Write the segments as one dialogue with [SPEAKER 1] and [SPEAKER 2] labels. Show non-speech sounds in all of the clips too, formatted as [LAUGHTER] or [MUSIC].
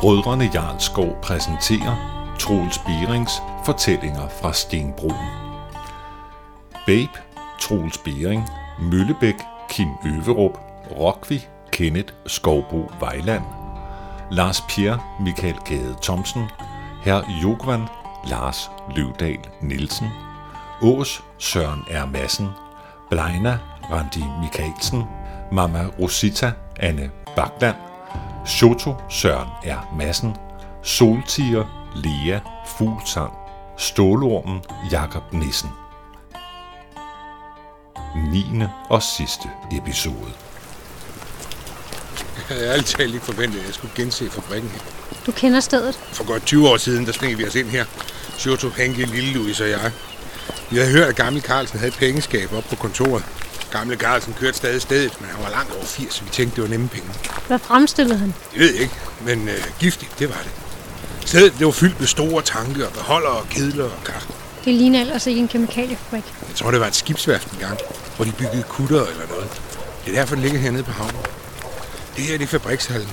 [SPEAKER 1] Brødrene Jarlskov præsenterer Troels Berings fortællinger fra Stenbroen. Babe, Troels Bering, Møllebæk, Kim Øverup, Rokvi, Kenneth Skovbo Vejland, Lars Pierre, Michael Gade Thomsen, Herr Jogvan, Lars Løvdal Nielsen, Ås Søren R. Madsen, Blejna Randi Michaelsen, Mama Rosita Anne Bakland, Shoto Søren R. Madsen, Soltiger Lea Fuglsang, Stålormen Jakob Nissen. 9. og sidste episode.
[SPEAKER 2] Jeg havde ærligt talt ikke forventet, at jeg skulle gense fabrikken her.
[SPEAKER 3] Du kender stedet.
[SPEAKER 2] For godt 20 år siden, der sneg vi os ind her. Shoto, Henke, Lille Louis og jeg. Vi havde hørt, at gamle Carlsen havde et pengeskab op på kontoret. Gamle Carlsen kørte stadig stedet, men han var langt over 80, så vi tænkte, det var nemme penge.
[SPEAKER 3] Hvad fremstillede han?
[SPEAKER 2] Det ved jeg ikke, men øh, giftigt, det var det. Stedet det var fyldt med store tanke og beholder og kedler og kar.
[SPEAKER 3] Det ligner ellers ikke en kemikaliefabrik.
[SPEAKER 2] Jeg tror, det var et skibsværft engang, hvor de byggede kutter eller noget. Det er derfor, den ligger hernede på havnen. Det her det er fabrikshallen.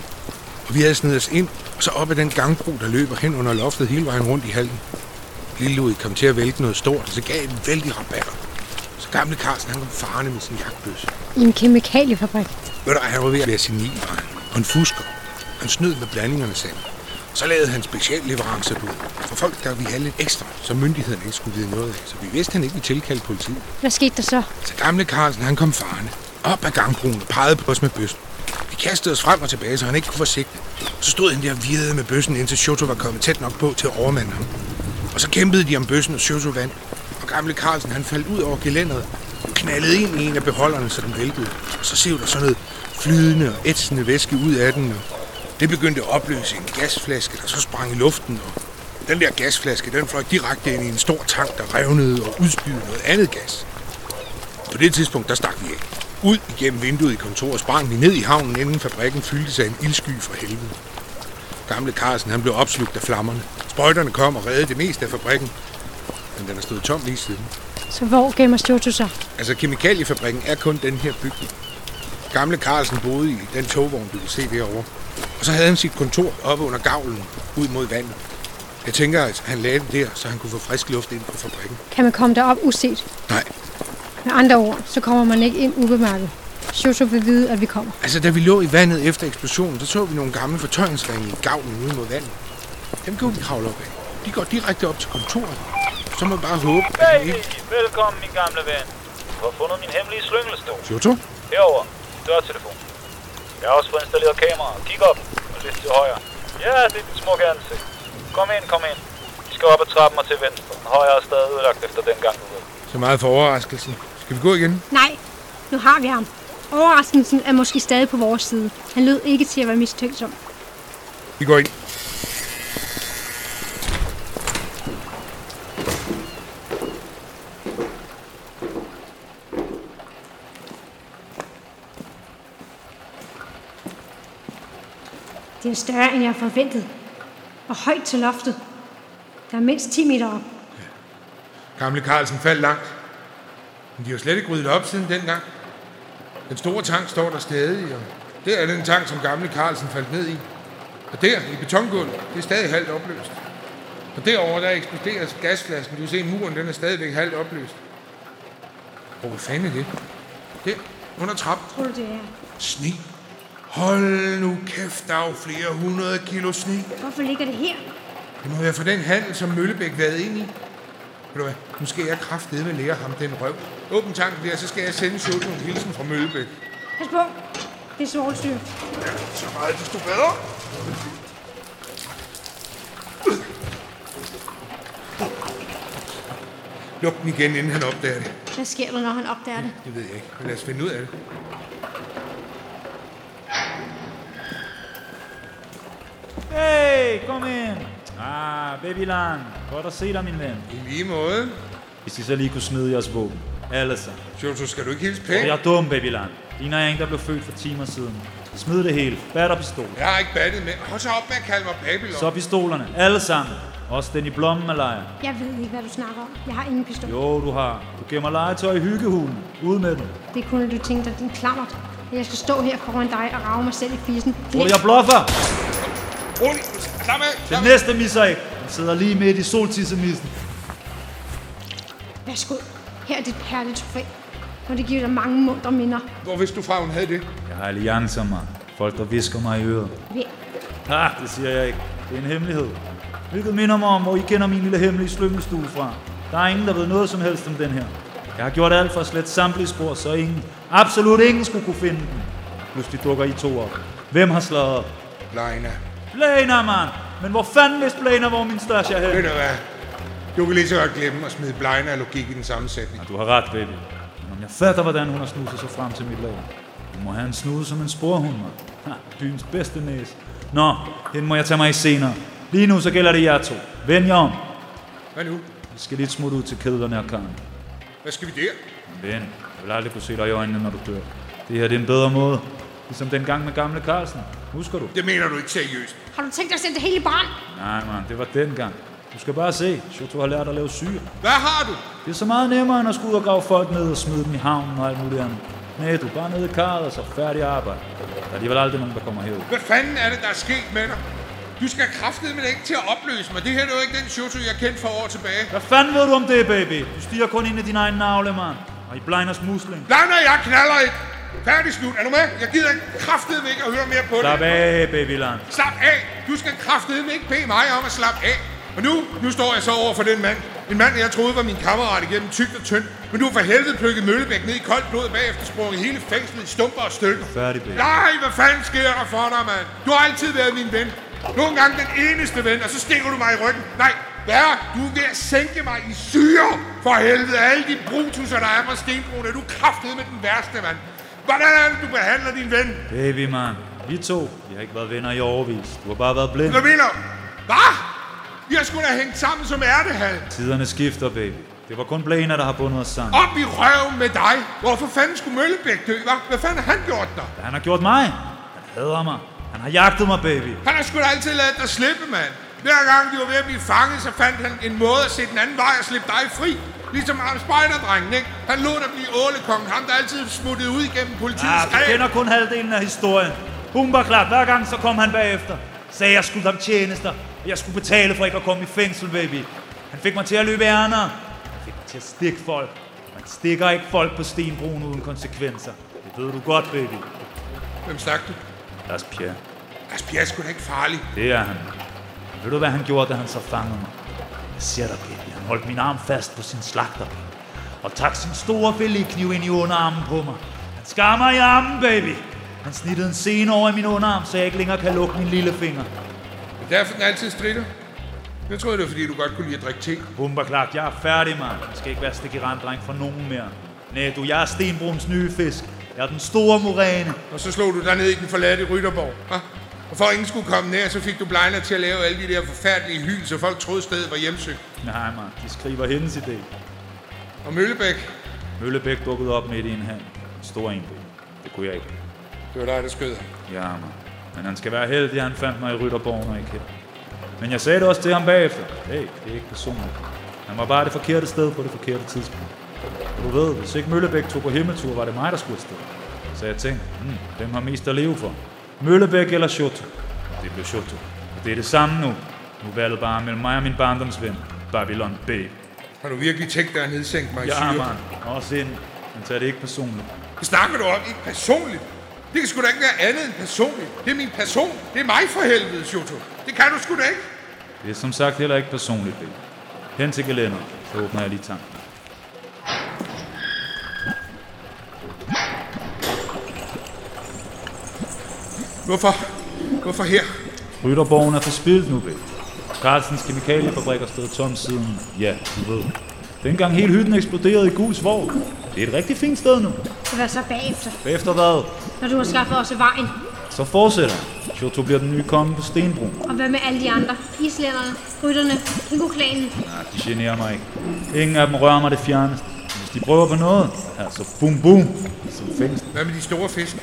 [SPEAKER 2] Og vi havde snedet os ind, og så op ad den gangbro, der løber hen under loftet hele vejen rundt i hallen. Lille Louis kom til at vælte noget stort, og så gav en vældig rabatter. Så gamle Carlsen, han kom farne med sin jagtbøs.
[SPEAKER 3] I en kemikaliefabrik.
[SPEAKER 2] Ved du, han var ved at være senil, var han. Og en fusker. Han snød med blandingerne selv. Så lavede han specialleverancer på, for folk, der vi have lidt ekstra, så myndighederne ikke skulle vide noget af. Så vi vidste, han ikke ville tilkalde politiet.
[SPEAKER 3] Hvad skete der så?
[SPEAKER 2] Så gamle Carlsen, han kom farne op ad gangbroen og pegede på os med bøssen. Vi kastede os frem og tilbage, så han ikke kunne få sigte. Så stod han der og virrede med bøssen, indtil Shoto var kommet tæt nok på til at overmande ham. Og så kæmpede de om bøssen, og Shoto vandt. Og gamle Carlsen, han faldt ud over gelænderet, knaldede ind i en af beholderne, så den væltede. Og så sev der sådan noget flydende og ætsende væske ud af den, og det begyndte at opløse en gasflaske, der så sprang i luften, og den der gasflaske, den fløj direkte ind i en stor tank, der revnede og udspyede noget andet gas. På det tidspunkt, der stak vi af. Ud igennem vinduet i kontoret sprang vi ned i havnen, inden fabrikken fyldte sig af en ildsky fra helvede. Gamle Carlsen han blev opslugt af flammerne. Sprøjterne kom og reddede det meste af fabrikken, men den har stået tom lige siden.
[SPEAKER 3] Så hvor gemmer Stjoto sig?
[SPEAKER 2] Altså, kemikaliefabrikken er kun den her bygning. Gamle Carlsen boede i den togvogn, du kan se derovre. Og så havde han sit kontor oppe under gavlen, ud mod vandet. Jeg tænker, at han lagde det der, så han kunne få frisk luft ind på fabrikken.
[SPEAKER 3] Kan man komme derop uset?
[SPEAKER 2] Nej,
[SPEAKER 3] Med andre ord, så kommer man ikke ind ubemærket. Stjoto vil vide, at vi kommer.
[SPEAKER 2] Altså, da vi lå i vandet efter eksplosionen, så så vi nogle gamle fortøjningsringe i gavlen ude mod vandet. Dem kunne vi kravle op af. De går direkte op til kontoret. Så må vi bare håbe, at de
[SPEAKER 4] Hey,
[SPEAKER 2] ikke...
[SPEAKER 4] velkommen min gamle ven. Du har fundet min hemmelige slyngelstol.
[SPEAKER 2] Shoto?
[SPEAKER 4] Herover, din dørtelefon. Jeg har også fået installeret kamera. Kig op og lidt til højre. Ja, det er dit smukke ansigt. Kom ind, kom ind. Vi skal op ad trappen og til venstre. Den højre er stadig udlagt efter dengang, du ved.
[SPEAKER 2] Så meget for overraskelsen. Skal vi gå igen?
[SPEAKER 3] Nej, nu har vi ham. Overraskelsen er måske stadig på vores side. Han lød ikke til at være mistænksom.
[SPEAKER 2] Vi går ind.
[SPEAKER 3] Det er større, end jeg forventede. Og højt til loftet. Der er mindst 10 meter op.
[SPEAKER 2] Gamle Carlsen faldt langt. Men de har jo slet ikke ryddet op siden dengang. Den store tank står der stadig, og der er den tank, som gamle Carlsen faldt ned i. Og der, i betongulvet, det er stadig halvt opløst. Og derovre, der eksploderer gasflasken. Du kan se, muren den er stadigvæk halvt opløst. Og hvad fanden er det? Der, under trappen.
[SPEAKER 3] Tror du, det er?
[SPEAKER 2] Sne. Hold nu kæft, der er jo flere hundrede kilo sne.
[SPEAKER 3] Hvorfor ligger det her?
[SPEAKER 2] Det må være for den handel, som Møllebæk været ind i. Ved du hvad, nu skal jeg kraftedeme lære ham den røv. Åbn tanken der, så skal jeg sende Sjøt en hilsen fra Møllebæk.
[SPEAKER 3] Pas på. Det er svovlsyre.
[SPEAKER 2] Så meget desto bedre. Luk den igen, inden han opdager det.
[SPEAKER 3] Hvad sker der, når han opdager det?
[SPEAKER 2] Det ved jeg ikke, men lad os finde ud af det.
[SPEAKER 4] Hey, kom ind. Ah, Babyland. Godt at se dig, min ven.
[SPEAKER 2] I lige måde.
[SPEAKER 4] Hvis I så lige kunne smide jeres våben. Alle sammen.
[SPEAKER 2] Sjøt, skal du ikke hilse
[SPEAKER 4] Og jeg
[SPEAKER 2] pænt?
[SPEAKER 4] er dum, Babyland. Ligner jeg en, der blev født for timer siden. Smid det hele. Bat og pistol.
[SPEAKER 2] Jeg har ikke battet med. Hold så op med at kalde mig Babylon.
[SPEAKER 4] Så pistolerne. Alle sammen. Også den i blommen er lejer.
[SPEAKER 3] Jeg ved ikke, hvad du snakker om. Jeg har ingen pistol.
[SPEAKER 4] Jo, du har. Du gemmer legetøj i hyggehulen. Ud med den.
[SPEAKER 3] Det kunne du tænke dig, din klammert. At jeg skal stå her foran dig og rave mig selv i fisen.
[SPEAKER 4] Tror du, jeg bluffer?
[SPEAKER 2] Rolig. Slap af.
[SPEAKER 5] Den
[SPEAKER 2] Slap af.
[SPEAKER 5] næste misser ikke. Den sidder lige midt i soltissemissen.
[SPEAKER 3] Værsgo, her er dit perletrofæ, og det giver dig mange mundre minder.
[SPEAKER 2] Hvor vidste du fra, hun havde det?
[SPEAKER 5] Jeg har alliancer, mand. Folk, der visker mig i øret.
[SPEAKER 3] Ved-
[SPEAKER 5] Ha, det siger jeg ikke. Det er en hemmelighed. Hvilket minder mig om, hvor I kender min lille hemmelige slyngelstue fra. Der er ingen, der ved noget som helst om den her. Jeg har gjort alt for at slette samtlige spor, så ingen, absolut ingen skulle kunne finde den. Pludselig dukker I to op. Hvem har slået op?
[SPEAKER 2] Lejna.
[SPEAKER 5] Planer, mand! Men hvor fanden vidste Planer, hvor min stash er
[SPEAKER 2] Ved
[SPEAKER 5] henne?
[SPEAKER 2] du hvad? Du vil lige så godt glemme at smide Blejna og logik i den samme sætning.
[SPEAKER 5] Ja, du har ret, baby. Men om jeg fatter, hvordan hun har snuset sig frem til mit lager. Hun må have en snude som en sporhund, mand. Ha, byens bedste næse. Nå, den må jeg tage mig i senere. Lige nu så gælder det jer to. Vend jer om.
[SPEAKER 2] Hvad nu?
[SPEAKER 5] Vi skal lige et smut ud til kedlerne og karren.
[SPEAKER 2] Hvad skal vi der?
[SPEAKER 5] Ven, jeg vil aldrig kunne se dig i øjnene, når du dør. Det her det er en bedre måde. Ligesom dengang med gamle Carlsen. Husker du?
[SPEAKER 2] Det mener du ikke seriøst.
[SPEAKER 3] Har du tænkt dig at sætte det hele i brand?
[SPEAKER 5] Nej, man, det var dengang. Du skal bare se. Shoto har lært at lave syre.
[SPEAKER 2] Hvad har du?
[SPEAKER 5] Det er så meget nemmere, end at skulle ud og grave folk ned og smide dem i havnen og alt muligt andet. Nej, du er bare nede i karret og så færdig arbejde. Der er alligevel aldrig nogen, der kommer herud.
[SPEAKER 2] Hvad fanden er det, der er sket med dig? Du skal kraftedeme med ikke til at opløse mig. Det her det er jo ikke den shoto, jeg kendte for år tilbage.
[SPEAKER 5] Hvad fanden ved du om det, baby? Du stiger kun ind i din egen navle, mand. Og i blinders musling.
[SPEAKER 2] Blejna, jeg knaller ikke. Færdig slut. Er du med? Jeg gider ikke kraftedeme ikke at høre mere på
[SPEAKER 5] Slap
[SPEAKER 2] det.
[SPEAKER 5] af, babyland.
[SPEAKER 2] Slap af. Du skal kraftedeme ikke bede mig om at slappe af. Og nu, nu står jeg så over for den mand. En mand, jeg troede var min kammerat igennem tykt og tyndt. Men du har for helvede plukket Møllebæk ned i koldt blod bagefter sprunget hele fængslet i stumper og stykker.
[SPEAKER 5] Færdig, baby.
[SPEAKER 2] Nej, hvad fanden sker der for dig, mand? Du har altid været min ven. Nogle gange den eneste ven, og så stikker du mig i ryggen. Nej, hvad? Du er ved at sænke mig i syre. For helvede, alle de brutusser, der er på stenbrugene. Du er kraftede med den værste, mand. Hvordan er det, du behandler din ven?
[SPEAKER 5] Baby, mand. Vi to, vi har ikke været venner i årvis. Du har bare været blind.
[SPEAKER 2] Hvad mener du? Hvad? Vi har sgu da hængt sammen som ærtehal.
[SPEAKER 5] Tiderne skifter, baby. Det var kun Blaner, der har bundet os sammen.
[SPEAKER 2] Op i røven med dig. Hvorfor fanden skulle Møllebæk dø, hva? Hvad fanden har han gjort dig?
[SPEAKER 5] Hvad han har gjort mig? Han hader mig. Han har jagtet mig, baby.
[SPEAKER 2] Han har sgu da altid ladet dig slippe, mand. Hver gang de var ved at blive fanget, så fandt han en måde at se den anden vej og slippe dig fri. Ligesom ham spejderdrengen, ikke? Han lå der blive ålekongen, ham der altid smuttede ud igennem
[SPEAKER 5] Ah,
[SPEAKER 2] politiets
[SPEAKER 5] du
[SPEAKER 2] greb.
[SPEAKER 5] kender kun halvdelen af historien. Hun var klar. Hver gang så kom han bagefter. Sagde, jeg skulle ham tjenester. og Jeg skulle betale for ikke at komme i fængsel, baby. Han fik mig til at løbe ærner. Han fik mig til at stikke folk. Man stikker ikke folk på stenbroen uden konsekvenser. Det ved du godt, baby.
[SPEAKER 2] Hvem snakker du?
[SPEAKER 5] Lars Pierre,
[SPEAKER 2] Altså, Pia er sgu da ikke farlig.
[SPEAKER 5] det er han. Ved du, hvad han gjorde, da han så fangede mig? Jeg ser dig, baby. Han holdt min arm fast på sin slagter, og tak sin store fællekniv ind i underarmen på mig. Han skar mig i armen, baby. Han snittede en sene over i min underarm, så jeg ikke længere kan lukke min lillefinger.
[SPEAKER 2] Det er derfor, den altid strider. Jeg troede, det var, fordi du godt kunne lide at drikke te.
[SPEAKER 5] Bumper klart, jeg er færdig, mand. Jeg skal ikke være stikkerand-dreng for nogen mere. Nej, du, jeg er Stenbruns nye fisk. Jeg er den store moræne.
[SPEAKER 2] Og så slog du dig ned i den forladte Rytterborg. hva? Og for at ingen skulle komme nær, så fik du Blejner til at lave alle de der forfærdelige hyl, så folk troede stedet var hjemsøgt.
[SPEAKER 5] Nej, mand, de skriver hendes idé.
[SPEAKER 2] Og Møllebæk,
[SPEAKER 5] Møllebæk dukkede op midt i en hand. En stor en, baby. Det kunne jeg ikke.
[SPEAKER 2] det var dig, der skød ham.
[SPEAKER 5] Ja, man. Men han skal være heldig, at han fandt mig i Rytterborgen og ikke her. Men jeg sagde det også til ham bagefter. Hey, det er ikke personligt. Han var bare det forkerte sted på det forkerte tidspunkt. Og du ved, hvis ikke Møllebæk tog på himmeltur, var det mig, der skulle afsted. Så jeg tænkte, hmm, hvem har mest at leve for? Møllebæk eller Shoto? Det blev Shoto. Og det er det samme nu. Nu er valget bare mellem mig og min barndomsven, Babylon Babe.
[SPEAKER 2] Har du virkelig tænkt dig at nedsænke mig i
[SPEAKER 5] Ja,
[SPEAKER 2] syre?
[SPEAKER 5] man. Også ind. Men tag det ikke personligt.
[SPEAKER 2] Hvad snakker du om? Ikke personligt? Det kan sgu da ikke være andet end personligt. Det er min person. Det er mig for helvede, Shoto. Det kan du sgu da ikke.
[SPEAKER 5] Det er som sagt heller ikke personligt, Bill. Hen til gelænder, så åbner jeg lige tanken.
[SPEAKER 2] Hvorfor? Hvorfor her?
[SPEAKER 5] Rytterborgen er forspillet nu, Bill. Carlsens kemikaliefabrik har stået tom siden, ja, du ved. Dengang hele hytten eksploderede i Gus Vogl. Det er et rigtig fint sted nu.
[SPEAKER 3] Så hvad så bagefter,
[SPEAKER 5] Efter hvad?
[SPEAKER 3] når du har skaffet os af vejen?
[SPEAKER 5] Så fortsætter. Shoto bliver den nye konge på Stenbroen.
[SPEAKER 3] Og hvad med alle de andre? Islænderne, rytterne, Kingo-klanen.
[SPEAKER 5] Nej, de generer mig ikke. Ingen af dem rører mig det fjerneste. Hvis de prøver på noget, ja, så bum bum. Som fængsel.
[SPEAKER 2] Hvad med de store fisk?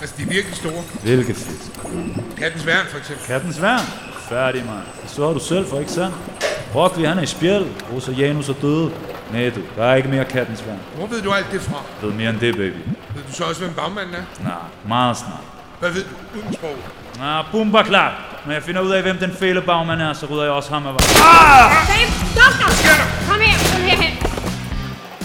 [SPEAKER 2] Altså, de er virkelig store.
[SPEAKER 5] Hvilke fisk.
[SPEAKER 2] Kattens værn, for eksempel.
[SPEAKER 5] Kattens værn. Færdig, mand. Det så du selv for, ikke sandt? Broccoli, han er i spjæld. Rosa Janus er døde. Nej, du. Der er ikke mere kattens værn.
[SPEAKER 2] Hvor ved du alt det fra?
[SPEAKER 5] Jeg ved mere end det, baby.
[SPEAKER 2] Ved du så også, hvem bagmanden er?
[SPEAKER 5] Nej, meget snart.
[SPEAKER 2] Hvad ved du uden sprog?
[SPEAKER 5] Nå, bumper klar. Når jeg finder ud af, hvem den fæle bagmand er, så rydder jeg også ham af vejen.
[SPEAKER 3] Dave, doktor! Kom her, kom herhen.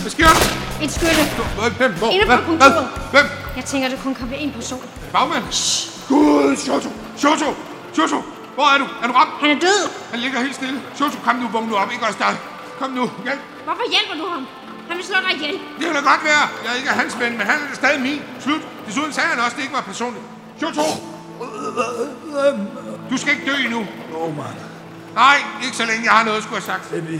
[SPEAKER 2] Hvad sker der?
[SPEAKER 3] En skytte.
[SPEAKER 2] Hvem? Hvem? Hvor?
[SPEAKER 3] Inde på
[SPEAKER 2] Hvad?
[SPEAKER 3] kontoret.
[SPEAKER 2] Hvad? Hvem?
[SPEAKER 3] Jeg tænker, der kun kan være en person.
[SPEAKER 2] Bagmand? Gud, Shoto! Shoto! Shoto! Hvor er du? Er du ramt?
[SPEAKER 3] Han er død.
[SPEAKER 2] Han ligger helt stille. Shoto, kom nu, vågn nu op. Ikke også dig. Kom nu. Hjælp.
[SPEAKER 3] Hvorfor hjælper du ham? Han vil slå dig ihjel.
[SPEAKER 2] Det kan da godt være. Jeg er ikke er hans ven, men han er da stadig min. Slut. Desuden sagde han også, at det ikke var personligt. Shoto! Du skal ikke dø endnu.
[SPEAKER 6] Åh, oh, mand.
[SPEAKER 2] Nej, ikke så længe jeg har noget, skulle jeg have sagt.
[SPEAKER 6] Baby,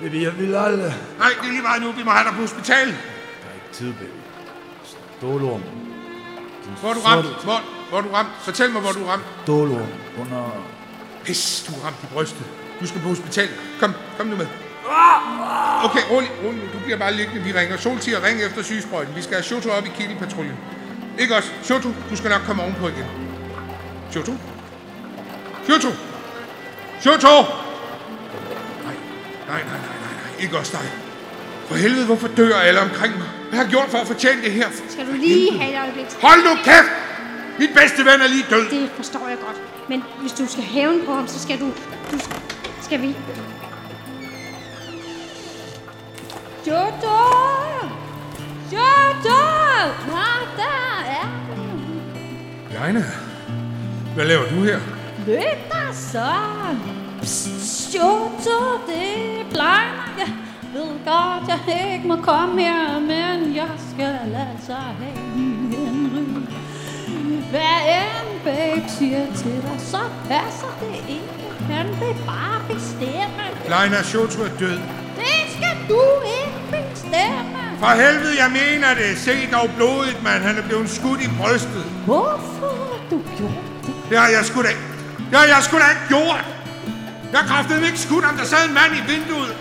[SPEAKER 6] baby, jeg vil aldrig.
[SPEAKER 2] Nej, det er lige meget nu. Vi må have dig på hospitalet.
[SPEAKER 5] Der er ikke tid, baby. Stålorm.
[SPEAKER 2] Hvor er du ramt? Hvor, hvor er du ramt? Fortæl mig, hvor er du ramt.
[SPEAKER 5] Stålorm. Under...
[SPEAKER 2] Pis, du er ramt i brystet. Du skal på hospital. Kom, kom nu med. Okay, rolig, rolig. nu. Du bliver bare liggende. Vi ringer. Soltier, ring efter sygesprøjten. Vi skal have Shoto op i kittelpatruljen. Ikke også? Shoto, du skal nok komme ovenpå igen. Shoto? Shoto! Shoto! Nej, nej, nej, nej, nej, nej. Ikke også dig. For helvede, hvorfor dør alle omkring mig? Hvad har jeg gjort for at fortjene det her?
[SPEAKER 3] Skal du lige have et øjeblik?
[SPEAKER 2] Hold nu kæft! Min bedste ven er lige død.
[SPEAKER 3] Det forstår jeg godt. Men hvis du skal hævne på ham, så skal du... du skal vi... Jodo! Jodo! Hvad der er?
[SPEAKER 2] Leina, hvad laver du her?
[SPEAKER 7] Løb dig så! Stjåto, det blegner jeg ved godt, jeg ikke må komme her, men jeg skal altså have min Henry. Hvad end babe siger til dig, så passer det ikke. Han vil bare bestemme.
[SPEAKER 2] Leina, Shoto er død.
[SPEAKER 7] Det skal du ikke bestemme.
[SPEAKER 2] For helvede, jeg mener det. Se dog blodet, mand. Han er blevet skudt i brystet.
[SPEAKER 7] Hvorfor har du gjort det?
[SPEAKER 2] Det har jeg sgu da ikke. Det har jeg sgu da ikke gjort. Jeg kræftede ikke skudt ham. Der sad en mand i vinduet.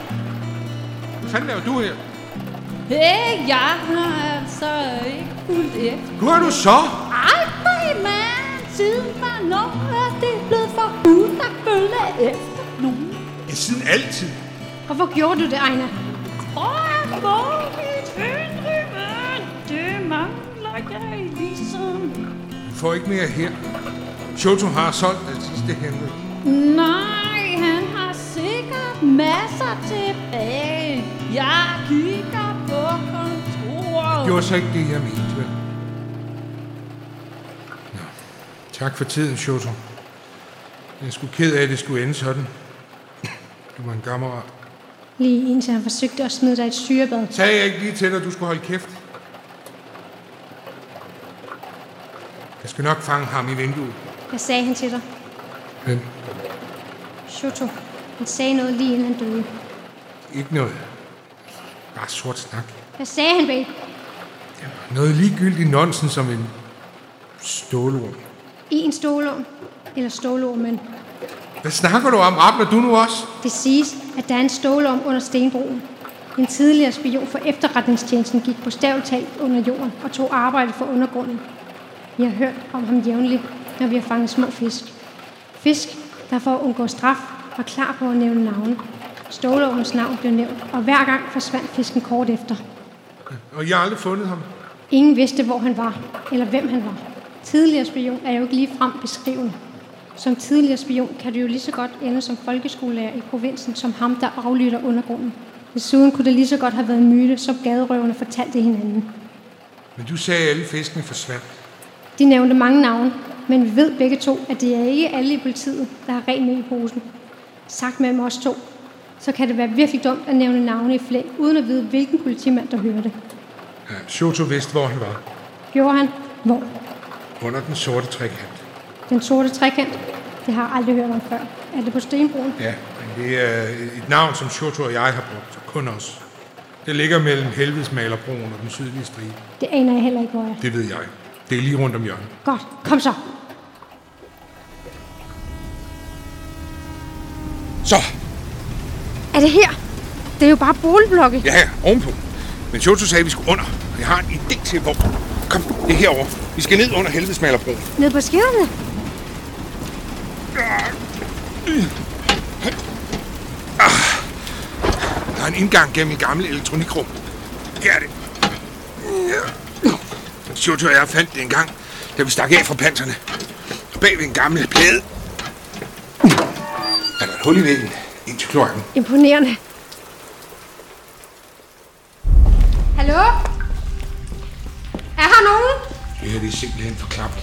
[SPEAKER 2] Hvad fanden laver du her?
[SPEAKER 7] Hey, jeg har altså ikke fulgt efter.
[SPEAKER 2] Hvor er du så?
[SPEAKER 7] aldrig mand siden hvornår er det blevet forbudt at følge efter nogen.
[SPEAKER 2] Ja, siden altid.
[SPEAKER 3] Hvorfor gjorde du det, Ejner?
[SPEAKER 7] Hvor er hvor mit indre mand? Det mangler jeg ligesom.
[SPEAKER 2] Du får ikke mere her. Shoto har solgt det sidste hemmelighed.
[SPEAKER 7] Nej, han har sikkert masser tilbage. Jeg kigger på kontoret.
[SPEAKER 2] Det var så ikke det, jeg mente, vel? Nå. Tak for tiden, Shoto. Jeg er sgu ked af, at det skulle ende sådan. Du var en kammerat.
[SPEAKER 3] Lige indtil han forsøgte at smide dig i et syrebad.
[SPEAKER 2] Sagde jeg ikke lige til dig, at du skulle holde kæft? Jeg skal nok fange ham i vinduet.
[SPEAKER 3] Hvad sagde han til dig?
[SPEAKER 2] Men
[SPEAKER 3] Shoto. Han sagde noget lige inden han døde.
[SPEAKER 2] ikke noget. Bare sort snak.
[SPEAKER 3] Hvad sagde han, babe?
[SPEAKER 2] Noget ligegyldigt nonsens som en stålorm.
[SPEAKER 3] En stålorm. Eller stålormen.
[SPEAKER 2] Hvad snakker du om? Rappler du nu også?
[SPEAKER 3] Det siges, at der er en stålorm under stenbroen. En tidligere spion for efterretningstjenesten gik på stavtalt under jorden og tog arbejde for undergrunden. Vi har hørt om ham jævnligt, når vi har fanget små fisk. Fisk, der for at undgå straf, var klar på at nævne navne. Stålormens navn blev nævnt, og hver gang forsvandt fisken kort efter.
[SPEAKER 2] Og jeg har aldrig fundet ham.
[SPEAKER 3] Ingen vidste, hvor han var, eller hvem han var. Tidligere spion er jo ikke ligefrem beskrivende. Som tidligere spion kan du jo lige så godt ende som folkeskolelærer i provinsen, som ham, der aflytter undergrunden. Desuden kunne det lige så godt have været en myte, som gaderøverne fortalte hinanden.
[SPEAKER 2] Men du sagde, at alle fiskene forsvandt.
[SPEAKER 3] De nævnte mange navne, men vi ved begge to, at det er ikke alle i politiet, der har rent med i posen. Sagt mellem os to, så kan det være virkelig dumt at nævne navne i flæng, uden at vide, hvilken politimand, der hører det.
[SPEAKER 2] Ja, Shoto vidste, hvor han var.
[SPEAKER 3] Gjorde han? Hvor?
[SPEAKER 2] Under den sorte trekant.
[SPEAKER 3] Den sorte trekant, det har jeg aldrig hørt om før. Er det på Stenbroen?
[SPEAKER 2] Ja, men det er et navn, som Shoto og jeg har brugt, og kun os. Det ligger mellem Helvedesmalerbroen og den sydlige stribe.
[SPEAKER 3] Det aner jeg heller ikke, hvor jeg er.
[SPEAKER 2] Det ved jeg. Det er lige rundt om hjørnet.
[SPEAKER 3] Godt, kom så.
[SPEAKER 2] Så,
[SPEAKER 3] Er det her? Det er jo bare boligblokke.
[SPEAKER 2] ja, ja, ovenpå. Men Shoto sagde, at vi skulle under, og jeg har en idé til, hvor. Kom, det er herovre. Vi skal ned under Helvedesmalerbroen.
[SPEAKER 3] Nede på skidderne.
[SPEAKER 2] Der er en indgang gennem et gammelt elektronikrum. Her er det. Ja. Shoto og jeg fandt det engang, da vi stak af fra panserne. Og bag ved en gammel plade Er der et hul i væggen? Ind til kloakken.
[SPEAKER 3] Imponerende. Hallo? Er her nogen?
[SPEAKER 2] Det her det er simpelthen for klamt.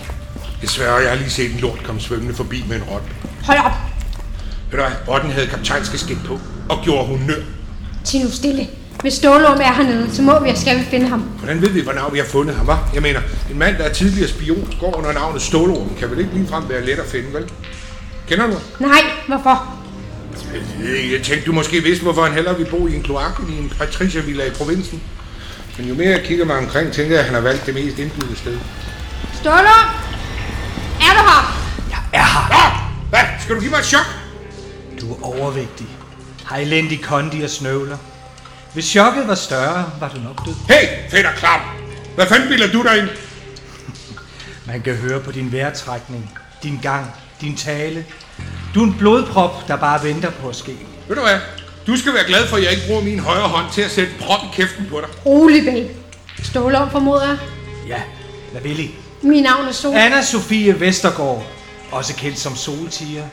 [SPEAKER 2] Desværre, jeg har lige set en lort komme svømmende forbi med en rot.
[SPEAKER 3] Hold op.
[SPEAKER 2] Ved du hvad, rotten havde kaptajnskasket på og gjorde honør.
[SPEAKER 3] Til nu stille. Hvis Stålum er hernede, så må vi og skal vi finde ham.
[SPEAKER 2] Hvordan ved vi, hvornår vi har fundet ham, hva'? Jeg mener, en mand, der er tidligere spion, går under navnet Stålorm, kan vel ikke ligefrem være let at finde, vel? Kender du ham?
[SPEAKER 3] Nej, hvorfor?
[SPEAKER 2] Jeg ved ikke. Jeg tænkte, du måske vidste, hvorfor han hellere ville bo i en kloak end i en patriciervilla i provinsen. Men jo mere jeg kigger mig omkring, tænker jeg, at han har valgt det mest indbydende sted.
[SPEAKER 3] Stålum? Er du her?
[SPEAKER 2] Ah, hvad? Skal du give mig et chok?
[SPEAKER 8] Du er overvægtig, har elendig kondi og snøvler. Hvis chokket var større, var du nok død.
[SPEAKER 2] Hey, fedt og klam! Hvad fanden bilder du dig ind?
[SPEAKER 8] Man kan høre på din vejrtrækning, din gang, din tale. Du er en blodprop, der bare venter på at ske.
[SPEAKER 2] Ved du hvad? Du skal være glad for, at jeg ikke bruger min højre hånd til at sætte en prop i kæften på dig.
[SPEAKER 3] Rolig, babe. Stålum formoder jeg.
[SPEAKER 8] Ja, hvad vil I?
[SPEAKER 3] Mit navn er Sol.
[SPEAKER 8] Anna Sofie Vestergaard, også kendt som Soltiger.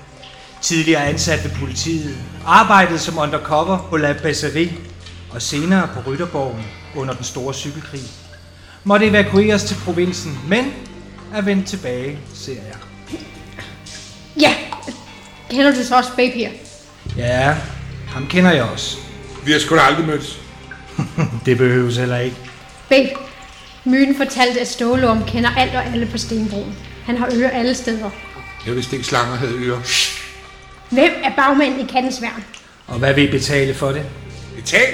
[SPEAKER 8] Tidligere ansat ved politiet, arbejdede som undercover på La Besserie, og senere på Rytterborgen under den store cykelkrig. Måtte evakueres til provinsen, men er vendt tilbage, ser jeg.
[SPEAKER 3] Ja. Kender du så også babe her?
[SPEAKER 8] Ja, ham kender jeg også.
[SPEAKER 2] Vi har sgu da aldrig mødtes.
[SPEAKER 8] Det behøves heller ikke.
[SPEAKER 3] Babe, myten fortalte, at Stålum kender alt og alle på Stenbroen. Han har ører alle steder.
[SPEAKER 2] Jeg vidste ikke, slanger havde ører.
[SPEAKER 3] Hvem er bagmanden i kattens værn?
[SPEAKER 8] Og hvad vil I betale for det?
[SPEAKER 2] Betal!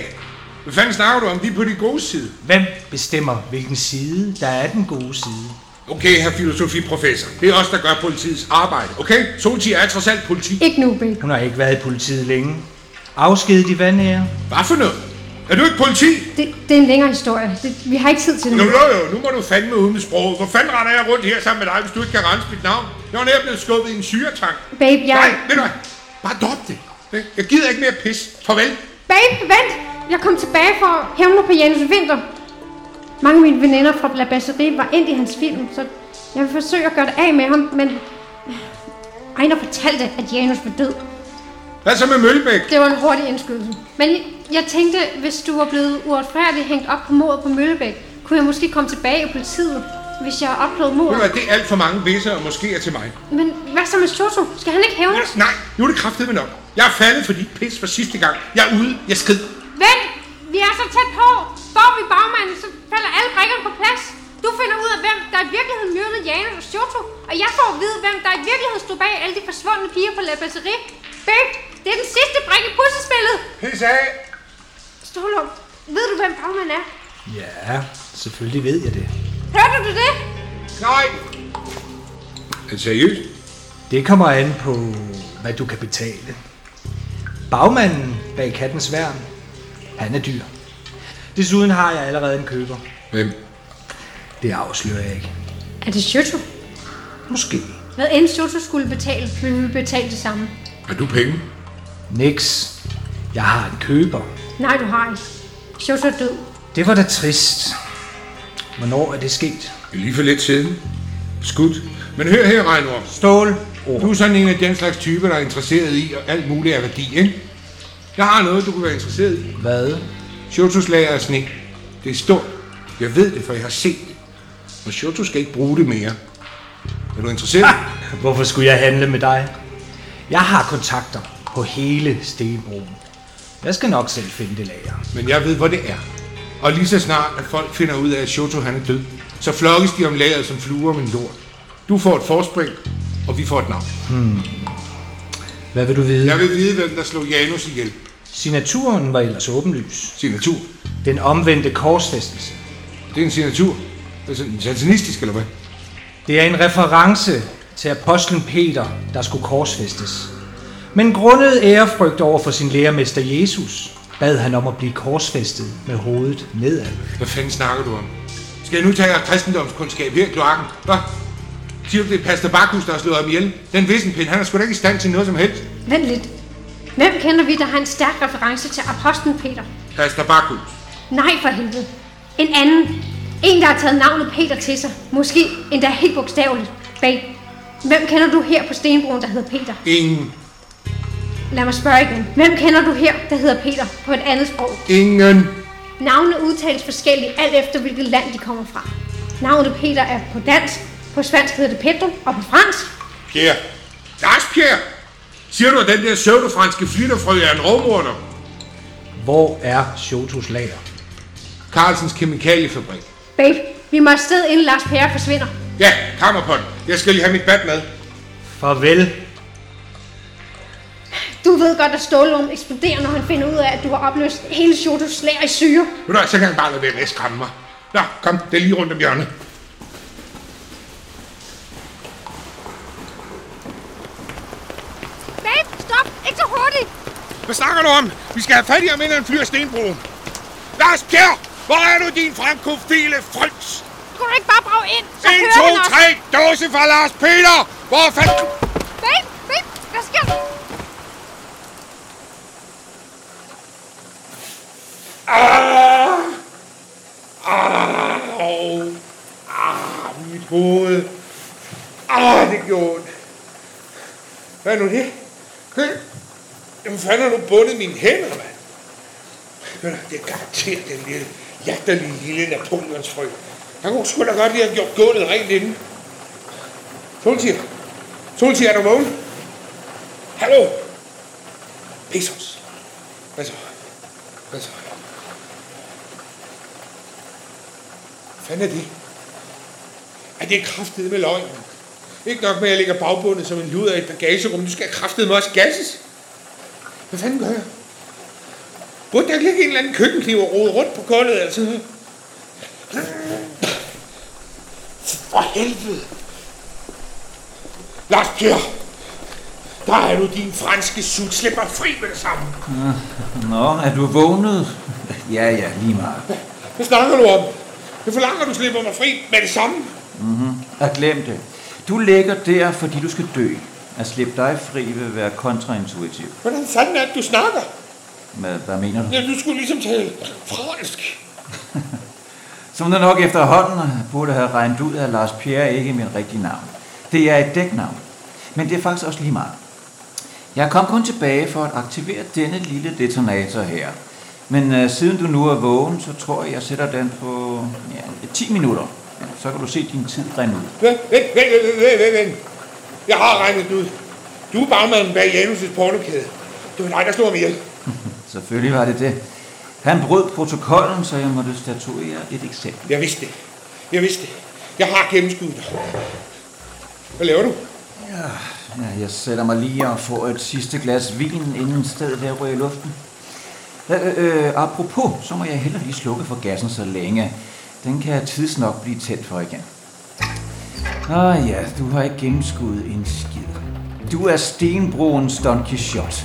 [SPEAKER 2] Hvad fanden snakker du om? Vi er på de gode side.
[SPEAKER 8] Hvem bestemmer, hvilken side, der er den gode side?
[SPEAKER 2] Okay, herr filosofiprofessor. Det er os, der gør politiets arbejde, okay? Solti er trods alt politi.
[SPEAKER 3] Ikke nu, babe.
[SPEAKER 8] Hun har ikke været i politiet længe. Afskedet i vandære.
[SPEAKER 2] Hvad for noget? Er du ikke politi?
[SPEAKER 3] Det, det er en længere historie. Det, vi har ikke tid til det
[SPEAKER 2] Jo,
[SPEAKER 3] nu.
[SPEAKER 2] jo, jo. Nu må du fandme ud med sproget. Hvor fanden render jeg rundt her sammen med dig, hvis du ikke kan rense mit navn? Jeg var nær blevet skubbet i en syretank.
[SPEAKER 3] Babe, jeg...
[SPEAKER 2] Nej, ved du hvad? Bare drop det. Jeg gider ikke mere pis. Farvel.
[SPEAKER 3] Babe, vent! Jeg kom tilbage for at hævne mig på Janus Vinter. Mange af mine veninder fra La Basserie var ind i hans film, så jeg vil forsøge at gøre det af med ham, men... Ejner fortalte, at Janus var død.
[SPEAKER 2] Hvad så med Møllebæk?
[SPEAKER 3] Det var en hurtig indskydelse. Men jeg tænkte, hvis du var blevet uretfærdigt hængt op på mordet på Møllebæk, kunne jeg måske komme tilbage i politiet, hvis jeg oplevede
[SPEAKER 2] Ved du
[SPEAKER 3] mordet.
[SPEAKER 2] hvad, det er alt for mange visser, og måske er til mig.
[SPEAKER 3] Men hvad så med Toto? Skal han ikke hævnes?
[SPEAKER 2] Nej, nu er det kraftedeme nok. Jeg er faldet for dit pis for sidste gang. Jeg er ude. Jeg skrider.
[SPEAKER 3] Vent! Vi er så tæt på! Får vi bagmanden, så falder alle brækkerne på plads. Du finder ud af, hvem der i virkeligheden myrdede Janus og Shoto, og jeg får at vide, hvem der i virkeligheden stod bag alle de forsvundne piger på La Batterie. Babe, det er den sidste brik i puslespillet!
[SPEAKER 2] Pis af.
[SPEAKER 3] Stålum, ved du, hvem bagmanden er?
[SPEAKER 8] Ja, selvfølgelig ved jeg det.
[SPEAKER 3] Hørte du det?
[SPEAKER 2] Nej. Er det seriøst?
[SPEAKER 8] Det kommer an på, hvad du kan betale. Bagmanden bag kattens værn, han er dyr. Desuden har jeg allerede en køber.
[SPEAKER 2] Hvem?
[SPEAKER 8] Det afslører jeg ikke.
[SPEAKER 3] Er det Shoto?
[SPEAKER 8] Måske.
[SPEAKER 3] Hvad end Shoto skulle betale, ville vi betale det samme.
[SPEAKER 2] Har du penge?
[SPEAKER 8] Nix. Jeg har en køber.
[SPEAKER 3] Nej, du har ikke. Shoto er død.
[SPEAKER 8] Det var da trist. Hvornår er det sket?
[SPEAKER 2] Det er Lige for lidt siden. Skudt. Men hør her, Reinorm.
[SPEAKER 8] Stål. Oh.
[SPEAKER 2] Du er sådan en af den slags typer, der er interesseret i og alt muligt af værdi, ikke? Jeg har noget, du kunne være interesseret i.
[SPEAKER 8] Hvad?
[SPEAKER 2] Shotos lager af sne. Det er stort. Jeg ved det, for jeg har set det. Og Shoto skal ikke bruge det mere. Er du interesseret?
[SPEAKER 8] Hvorfor skulle jeg handle med dig? Jeg har kontakter på hele Stenbroen. Jeg skal nok selv finde det lager.
[SPEAKER 2] Men jeg ved, hvor det er. Og lige så snart, at folk finder ud af, at Shoto han er død, så flokkes de om lageret som fluer om en lort. Du får et forspring, og vi får et navn.
[SPEAKER 8] Hvad vil du vide?
[SPEAKER 2] Jeg vil vide, hvem der slog Janus ihjel.
[SPEAKER 8] Signaturen var ellers åbenlys.
[SPEAKER 2] Signatur.
[SPEAKER 8] Den omvendte korsfæstelse.
[SPEAKER 2] Det er en signatur. Det er sådan satanistisk, eller hvad?
[SPEAKER 8] Det er en reference til apostlen Peter, der skulle korsfæstes. Men grundet ærefrygt over for sin lærermester Jesus, bad han om at blive korsfæstet med hovedet nedad.
[SPEAKER 2] Hvad fanden snakker du om? Skal jeg nu tage jeres kristendomskundskab her i kloakken? Hvad? Siger du, det er Pastor Bakhus, der har slået ham ihjel? Den vissenpind, han er sgu da ikke i stand til noget som helst.
[SPEAKER 3] Vent lidt. Hvem kender vi, der har en stærk reference til apostlen Peter?
[SPEAKER 2] Pastor Bakhus.
[SPEAKER 3] Nej for helvede. En anden. En, der har taget navnet Peter til sig. Måske endda helt bogstaveligt. Bag. Hvem kender du her på Stenbroen, der hedder Peter?
[SPEAKER 2] Ingen.
[SPEAKER 3] Lad mig spørge igen. Hvem kender du her, der hedder Peter, på et andet sprog?
[SPEAKER 2] Ingen.
[SPEAKER 3] Navnene udtales forskelligt, alt efter hvilket land de kommer fra. Navnet Peter er på dansk, på spansk hedder det Pedro, og på fransk.
[SPEAKER 2] Pierre. Lars Pierre. Siger du, at den der pseudofranske flitterfrø er en rovmorder?
[SPEAKER 8] Hvor er Shotos lager?
[SPEAKER 2] Carlsens kemikaliefabrik.
[SPEAKER 3] Babe, vi må afsted, inden Lars Pære forsvinder.
[SPEAKER 2] Ja, kammer på den. Jeg skal lige have mit bat med.
[SPEAKER 8] Farvel.
[SPEAKER 3] Du ved godt, at Stålum eksploderer, når han finder ud af, at du har opløst hele Shotos slag i syre.
[SPEAKER 2] Ved du hvad, så kan han bare lade være med at skræmme mig. Nå, kom, det er lige rundt om hjørnet.
[SPEAKER 3] Babe, stop! Ikke så hurtigt!
[SPEAKER 2] Hvad snakker du om? Vi skal have fat i ham, inden han flyver stenbroen. Lars Pierre, hvor er du, din frankofile frøns?
[SPEAKER 3] Kunne du ikke bare brage ind?
[SPEAKER 2] 1, 2, 3, dåse fra Lars Peter! Hvor fanden...
[SPEAKER 3] Babe, babe, hvad sker der?
[SPEAKER 2] Ah, Au! Ah, mit hoved. Ah, det gjorde ondt. Hvad er nu det? Hvad? Jamen, fanden har nu bundet mine hænder, mand? Ved du, Det er garanteret den lille, latterlige lille Napoleonsfrø. Han kunne sgu da godt lige have gjort gulvet rent inden. Solsir. Solsir, er du vågen? Hallo? Pesos. Hvad så? Hvad så? fanden er det? Ej, det er kraftet med løgn. Ikke nok med, at jeg ligger bagbundet som en luder i et bagagerum. Nu skal jeg kraftet med også gasses. Hvad fanden gør jeg? Burde der ikke ligge en eller anden køkkenkniv og rode rundt på gulvet eller sådan noget? For helvede! Lars Pierre! Der er du din franske sut. Slip mig fri med det samme.
[SPEAKER 9] Nå, er du vågnet? [LAUGHS] ja, ja, lige meget.
[SPEAKER 2] Hvad snakker du om? Jeg forlanger, at du slipper mig fri med det samme.
[SPEAKER 9] Jeg glemte det. Du ligger der, fordi du skal dø. At slippe dig fri vil være kontraintuitivt.
[SPEAKER 2] Hvordan fanden er det, du snakker?
[SPEAKER 9] Hvad, hvad mener du?
[SPEAKER 2] Ja, du skulle ligesom tale fransk.
[SPEAKER 9] Som du nok efterhånden burde have regnet ud, at Lars Pierre ikke er min rigtige navn. Det er et dæknavn. Men det er faktisk også lige meget. Jeg kom kun tilbage for at aktivere denne lille detonator her. Men øh, siden du nu er vågen, så tror jeg, jeg sætter den på ja, 10 minutter. Ja, så kan du se din tid rende ud.
[SPEAKER 2] Vent, vent, vent, vent, vent, vent, vent. Jeg har regnet det ud. Du er bagmanden bag Janus' pornokæde. Det var dig, der slog mig ihjel.
[SPEAKER 9] Selvfølgelig var det det. Han brød protokollen, så jeg måtte statuere et eksempel.
[SPEAKER 2] Jeg vidste det. Jeg vidste det. Jeg har gennemskuddet dig. Hvad laver du?
[SPEAKER 9] Ja, jeg sætter mig lige og får et sidste glas vin, inden stedet der ryger i luften. Øh, øh, apropos, så må jeg hellere lige slukke for gassen så længe. Den kan jeg tidsnok blive tændt for igen. Ah ja, du har ikke gennemskuddet en skid. Du er stenbroens Don Quixote.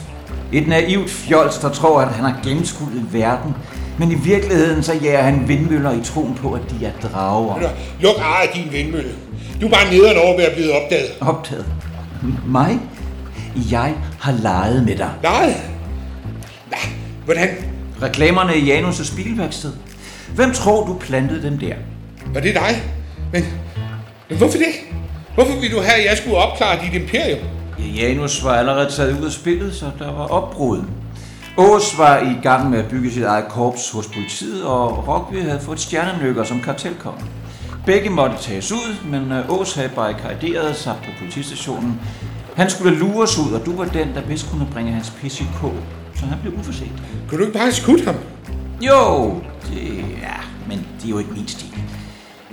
[SPEAKER 9] Et naivt fjols, der tror, at han har gennemskuddet verden. Men i virkeligheden så jager han vindmøller i troen på, at de er
[SPEAKER 2] Ved
[SPEAKER 9] drager.
[SPEAKER 2] du hvad? Luk ar af din vindmølle. Du er bare nederen over ved at blive opdaget.
[SPEAKER 9] optaget. M- Mig? Jeg har leget med dig.
[SPEAKER 2] Nej. Nej. Hvordan?
[SPEAKER 9] Reklamerne i Janus' bilværksted. Hvem tror du plantede dem der?
[SPEAKER 2] Var det dig? Men, men hvorfor det? Hvorfor ville du have, at jeg skulle opklare dit imperium?
[SPEAKER 9] Ja, Janus var allerede taget ud af spillet, så der var opbrud. Ås var i gang med at bygge sit eget korps hos politiet, og Rockby havde fået stjernenykker som kartelkonge. Begge måtte tages ud, men øh, Ås havde barrikaderet sig på politistationen. Han skulle lures ud, og du var den, der bedst kunne bringe hans PCK, så han blev uforset.
[SPEAKER 2] Kunne du ikke bare have skudt ham?
[SPEAKER 9] Jo, det ja, men det er jo ikke min stil.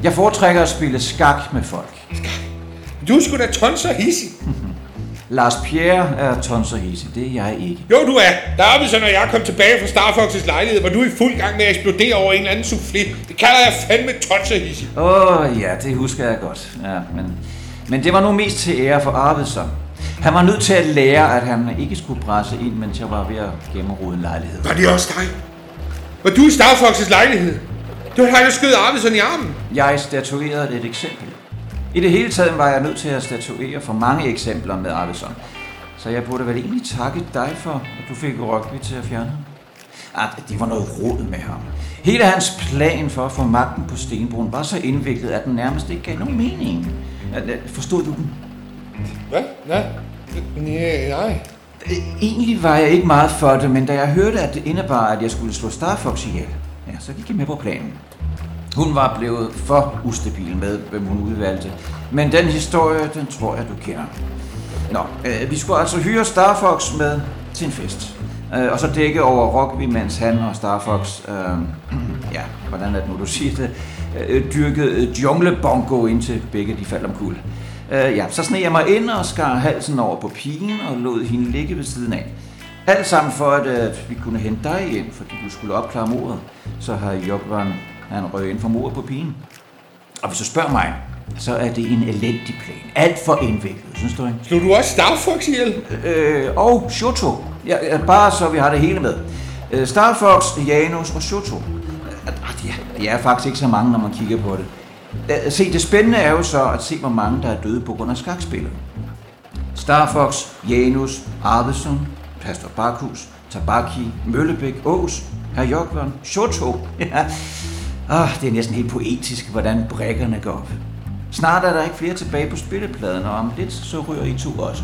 [SPEAKER 9] Jeg foretrækker at spille skak med folk.
[SPEAKER 2] Du er sgu da tons og hissig.
[SPEAKER 9] Lars Pierre er tons og hisse, det er jeg ikke.
[SPEAKER 2] Jo, du er. Der er vi så, når jeg kom tilbage fra Star Fox's lejlighed, var du i fuld gang med at eksplodere over en eller anden soufflé. Det kalder jeg fandme tonsehisse.
[SPEAKER 9] Åh oh, ja, det husker jeg godt. Ja, men, men det var nu mest til ære for Arvidsson. Han var nødt til at lære, at han ikke skulle presse ind, mens jeg var ved at gennemrode en lejlighed.
[SPEAKER 2] Var det også dig? Var du i Star Fox's lejlighed? Det var dig, der skød Arvidsson i armen.
[SPEAKER 9] Jeg statuerede et eksempel. I det hele taget var jeg nødt til at statuere for mange eksempler med Arvidsson. Så jeg burde vel egentlig takke dig for, at du fik Rugby til at fjerne ham. Ah, det var noget rod med ham. Hele hans plan for at få magten på Stenbroen var så indviklet, at den nærmest ikke gav nogen mening. At- at- Forstod du den?
[SPEAKER 2] Hvad? Nej. Nej, nej.
[SPEAKER 9] Øh, Egentlig var jeg ikke meget for det, men da jeg hørte, at det indebar, at jeg skulle slå Star Fox ihjel, ja, så gik jeg med på planen. Hun var blevet for ustabil med, hvem hun udvalgte. Men den historie, den tror jeg, du kender. Nå, øh, vi skulle altså hyre Star Fox med til en fest. Øh, og så dække over Rockby, mens han og Star Fox, øh, [CLEARS THROAT] ja, hvordan er det nu, du siger det, øh, dyrkede øh, junglebongo indtil begge de faldt omkuld. Øh, ja, så sneg jeg mig ind og skar halsen over på pigen og lod hende ligge ved siden af. Alt sammen for, at, at vi kunne hente dig ind, fordi du skulle opklare mordet. Så har Jokvan, han røg ind for mordet på pigen. Og hvis du spørger mig, så er det en elendig plan. Alt for indviklet, synes du ikke?
[SPEAKER 2] Slog du også Star Fox ihjel?
[SPEAKER 9] Øh, og Shoto. Ja, ja, bare så vi har det hele med. Øh, Star Fox, Janus og Shoto. Øh, ah, de, er, de er faktisk ikke så mange, når man kigger på det. Øh, se, det spændende er jo så at se, hvor mange der er døde på grund af skakspillet. Star Fox, Janus, Arvidsson, Pastor Bakhus, Tabaki, Møllebæk, Ås, Herr Jokvern, Shoto. [LAUGHS] Ja. Ah, det er næsten helt poetisk, hvordan brækkerne går op. Snart er der ikke flere tilbage på spillepladen, og om lidt så ryger I to også.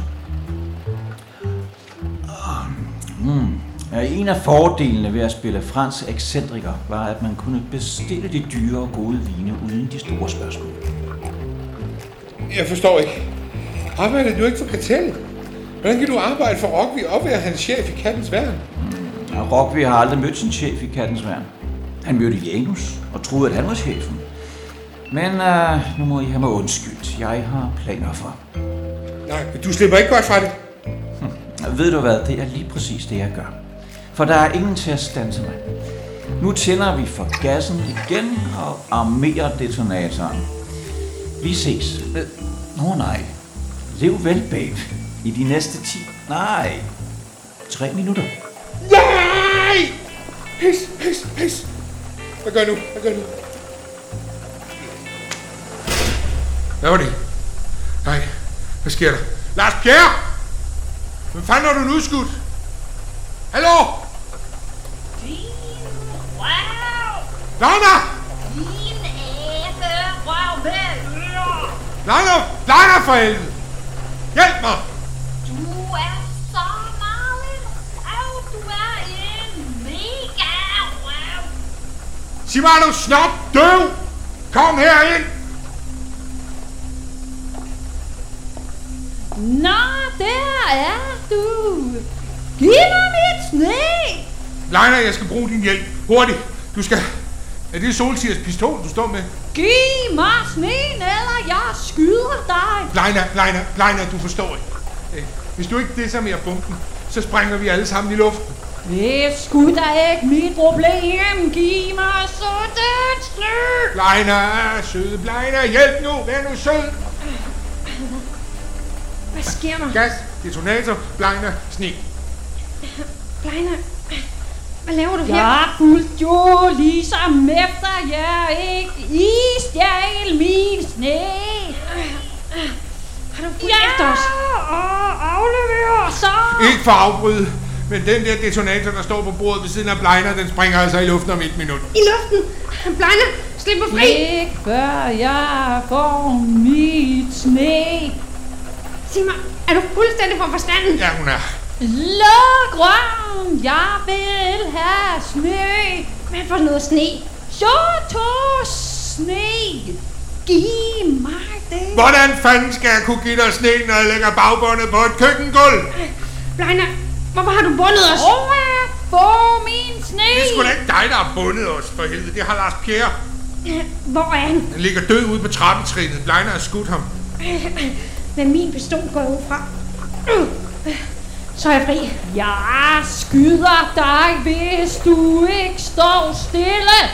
[SPEAKER 9] Ja, En af fordelene ved at spille fransk ekscentriker var, at man kunne bestille de dyre og gode vine uden de store spørgsmål.
[SPEAKER 2] Jeg forstår ikke. Arbejder du ikke for kartellet? Hvordan kan du arbejde for Rockby og være hans chef i kattens værn?
[SPEAKER 9] Og Rockby har aldrig mødt sin chef i Kattens Værn. Han mødte Janus og troede, at han var chefen. Men øh, nu må I have mig undskyldt. Jeg har planer for.
[SPEAKER 2] Nej, men du slipper ikke godt fra det.
[SPEAKER 9] Ved du hvad, det er lige præcis det, jeg gør. For der er ingen til at stanse mig. Nu tænder vi for gassen igen og armerer detonatoren. Vi ses. Øh, Nå nej. Lev vel, babe. I de næste 10... Nej. 3 minutter.
[SPEAKER 2] Nej! Pis, pis, pis. Hvad gør jeg nu? Hvad gør jeg nu? Hvad var det? Nej, hvad sker der? Lars Bjerre! Hvem fanden har du nu udskudt? Hallo?
[SPEAKER 7] Din røv!
[SPEAKER 2] Lejner!
[SPEAKER 7] Din æbe røv med ører!
[SPEAKER 2] Lejner! Lejner for helvede! Hjælp mig!
[SPEAKER 7] Du er så meget en røv! Du er en mega røv!
[SPEAKER 2] Sig mig, er du snot døv! Kom herind!
[SPEAKER 7] Nå, der er du! Giv mig mit sne!
[SPEAKER 2] Lejner, jeg skal bruge din hjælp. Hurtigt! Du skal... Er det Solsiers pistol, du står med?
[SPEAKER 7] Giv mig sneen, eller jeg skyder dig!
[SPEAKER 2] Lejner, Lejner, Lejner, du forstår ikke. Øh, Hvis du ikke desarmerer bomben, så sprænger vi alle sammen i luften.
[SPEAKER 7] Det er sgu da ikke mit problem. Giv mig så den sne!
[SPEAKER 2] Lejner, søde Lejner, hjælp nu, vær nu sød.
[SPEAKER 3] Hvad sker der?
[SPEAKER 2] Gas, detonator, Lejner, sne.
[SPEAKER 3] Blejner, hvad laver du her?
[SPEAKER 7] Jeg fulgte jo ligesom efter jer, ikke? I stjal min sne.
[SPEAKER 3] Har du fulgt efter os?
[SPEAKER 7] og afleverer så.
[SPEAKER 2] Ikke for at afbryde, men den der detonator, der står på bordet ved siden af Lejner, den springer altså i luften om et minut.
[SPEAKER 3] I luften! Blejner, slip mig fri!
[SPEAKER 7] Ikke før jeg får mit sne.
[SPEAKER 3] Sig mig, er du fuldstændig for forstanden?
[SPEAKER 2] Ja, hun er.
[SPEAKER 7] Luk røven, jeg vil have sne.
[SPEAKER 3] Hvad for noget sne?
[SPEAKER 7] Så tog sne. Giv mig det.
[SPEAKER 2] Hvordan fanden skal jeg kunne give dig sne, når jeg lægger bagbåndet på et køkkengulv?
[SPEAKER 3] Blejner, hvorfor har du bundet os?
[SPEAKER 7] Tror jeg får min sne.
[SPEAKER 2] Det er sgu da ikke dig, der har bundet os, for helvede. Det har Lars Pierre.
[SPEAKER 3] Hvor er han?
[SPEAKER 2] Han ligger død ude på trappetrinet. Lejner har skudt ham.
[SPEAKER 3] Med min pistol går jeg ud fra. Så er jeg fri.
[SPEAKER 7] Jeg skyder dig, hvis du ikke står stille.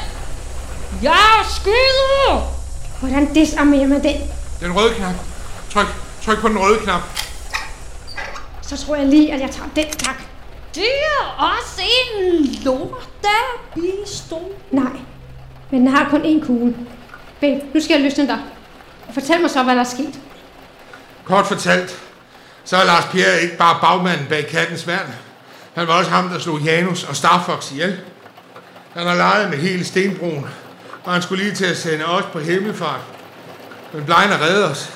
[SPEAKER 7] Jeg skyder!
[SPEAKER 3] Hvordan disarmerer man den?
[SPEAKER 2] Den røde knap. Tryk, tryk på den røde knap.
[SPEAKER 3] Så tror jeg lige, at jeg tager den, tak.
[SPEAKER 7] Det er også en lortepistol.
[SPEAKER 3] Nej, men den har kun én kugle. Babe, nu skal jeg løsne dig. Og fortæl mig så, hvad der er sket.
[SPEAKER 2] Kort fortalt, så er Lars Pierre ikke bare bagmanden bag kattens værn. Han var også ham, der slog Janus og Starfox ihjel. Han har leget med hele stenbroen, og han skulle lige til at sende os på himmelfart. Men Blejner redder os.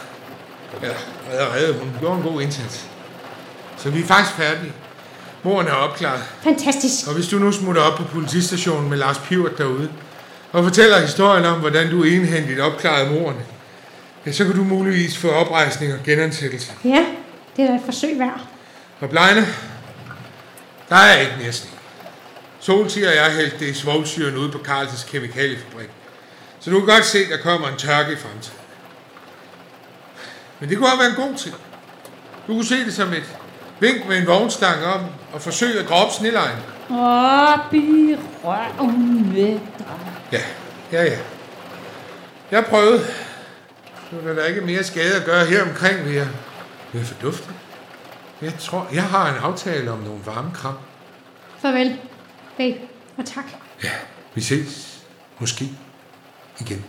[SPEAKER 2] Ja, redder redder. Hun gjorde en god indsats. Så vi er faktisk færdige. Morgen er opklaret.
[SPEAKER 3] Fantastisk.
[SPEAKER 2] Og hvis du nu smutter op på politistationen med Lars Pivert derude, og fortæller historien om, hvordan du enhændigt opklarede morderne, ja, så kan du muligvis få oprejsning og genansættelse.
[SPEAKER 3] Ja, det er da et forsøg værd.
[SPEAKER 2] Og Blejne, der er ikke næsten. Solti og jeg hældte det i svovlsyren ude på Karlsens kemikaliefabrik. Så du kan godt se, at der kommer en tørke i fremtiden. Men det kunne også være en god ting. Du kunne se det som et vink med en vognstang om og forsøge at droppe snelejen.
[SPEAKER 7] Op i røven med dig.
[SPEAKER 2] Ja, ja, ja. Jeg prøvede. Nu er der ikke mere skade at gøre her omkring, vil jeg. Vil jeg fordufte? Jeg tror, jeg har en aftale om nogle varme kram.
[SPEAKER 3] Farvel, babe, og tak.
[SPEAKER 2] Vi ses. Måske. Igen.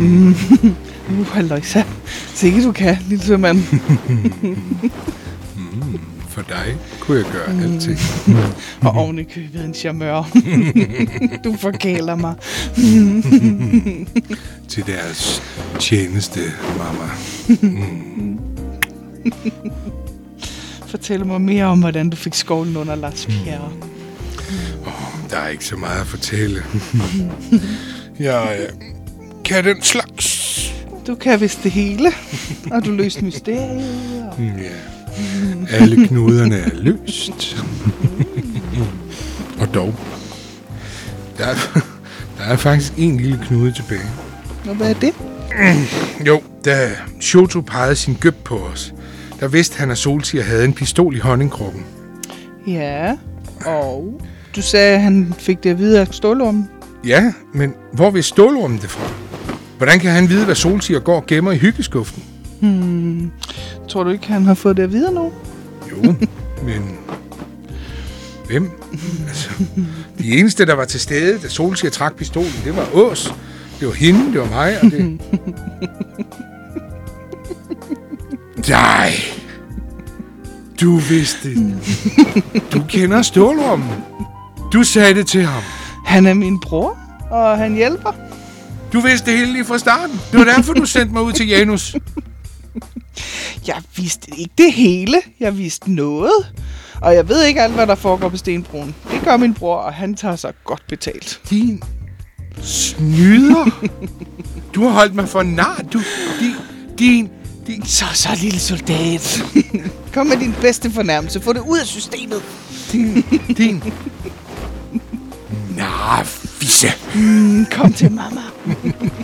[SPEAKER 8] Uh, halløjsa. Sikke du kan, lille sømand.
[SPEAKER 2] For dig kunne jeg gøre alting.
[SPEAKER 8] Og
[SPEAKER 9] [LAUGHS]
[SPEAKER 8] oven i købet en charmeur. du forkæler mig.
[SPEAKER 2] Til deres tjeneste, mamma.
[SPEAKER 8] Fortæl mig mere om, hvordan du fik skovlen under Lars Pierre.
[SPEAKER 2] Der er ikke så meget at fortælle. jeg øh, kan den slags.
[SPEAKER 8] Du kan vist det hele, og du løste mysteriet. og-
[SPEAKER 2] Ja. Alle knuderne er løst. [LAUGHS] Og dog. Der er, der er faktisk en lille knude tilbage.
[SPEAKER 8] Og hvad er det?
[SPEAKER 2] Jo, da Shoto pegede sin gøb på os, der vidste han, at Solsier havde en pistol i honningkrukken.
[SPEAKER 8] Ja, og du sagde, at han fik det at vide af stålormen.
[SPEAKER 2] Ja, men hvor vil stålormen det fra? Hvordan kan han vide, hvad Solsier går og gemmer i hyggeskuffen?
[SPEAKER 8] Tror du ikke, han har fået det at vide nu?
[SPEAKER 2] Jo, men... Hvem? Altså, de eneste, der var til stede, da Solsier trak pistolen, det var Ås. Det var hende, det var mig, og det... Nej! Du vidste det. Du kender stålormen. Du sagde det til ham.
[SPEAKER 8] Han er min bror, og han hjælper.
[SPEAKER 2] Du vidste det hele lige fra starten. Det var derfor, du sendte mig ud til Janus.
[SPEAKER 8] Jeg vidste ikke det hele. Jeg vidste noget. Og jeg ved ikke alt, hvad der foregår på Stenbroen. Det gør min bror, og han tager sig godt betalt.
[SPEAKER 2] Din snyder. Du har holdt mig for nar. Du, din, din, din
[SPEAKER 8] Så, så, lille soldat. [LAUGHS] Kom med din bedste fornærmelse. Få det ud af systemet.
[SPEAKER 2] Din, din... Nå, fisse.
[SPEAKER 8] Kom til Mm, mamma.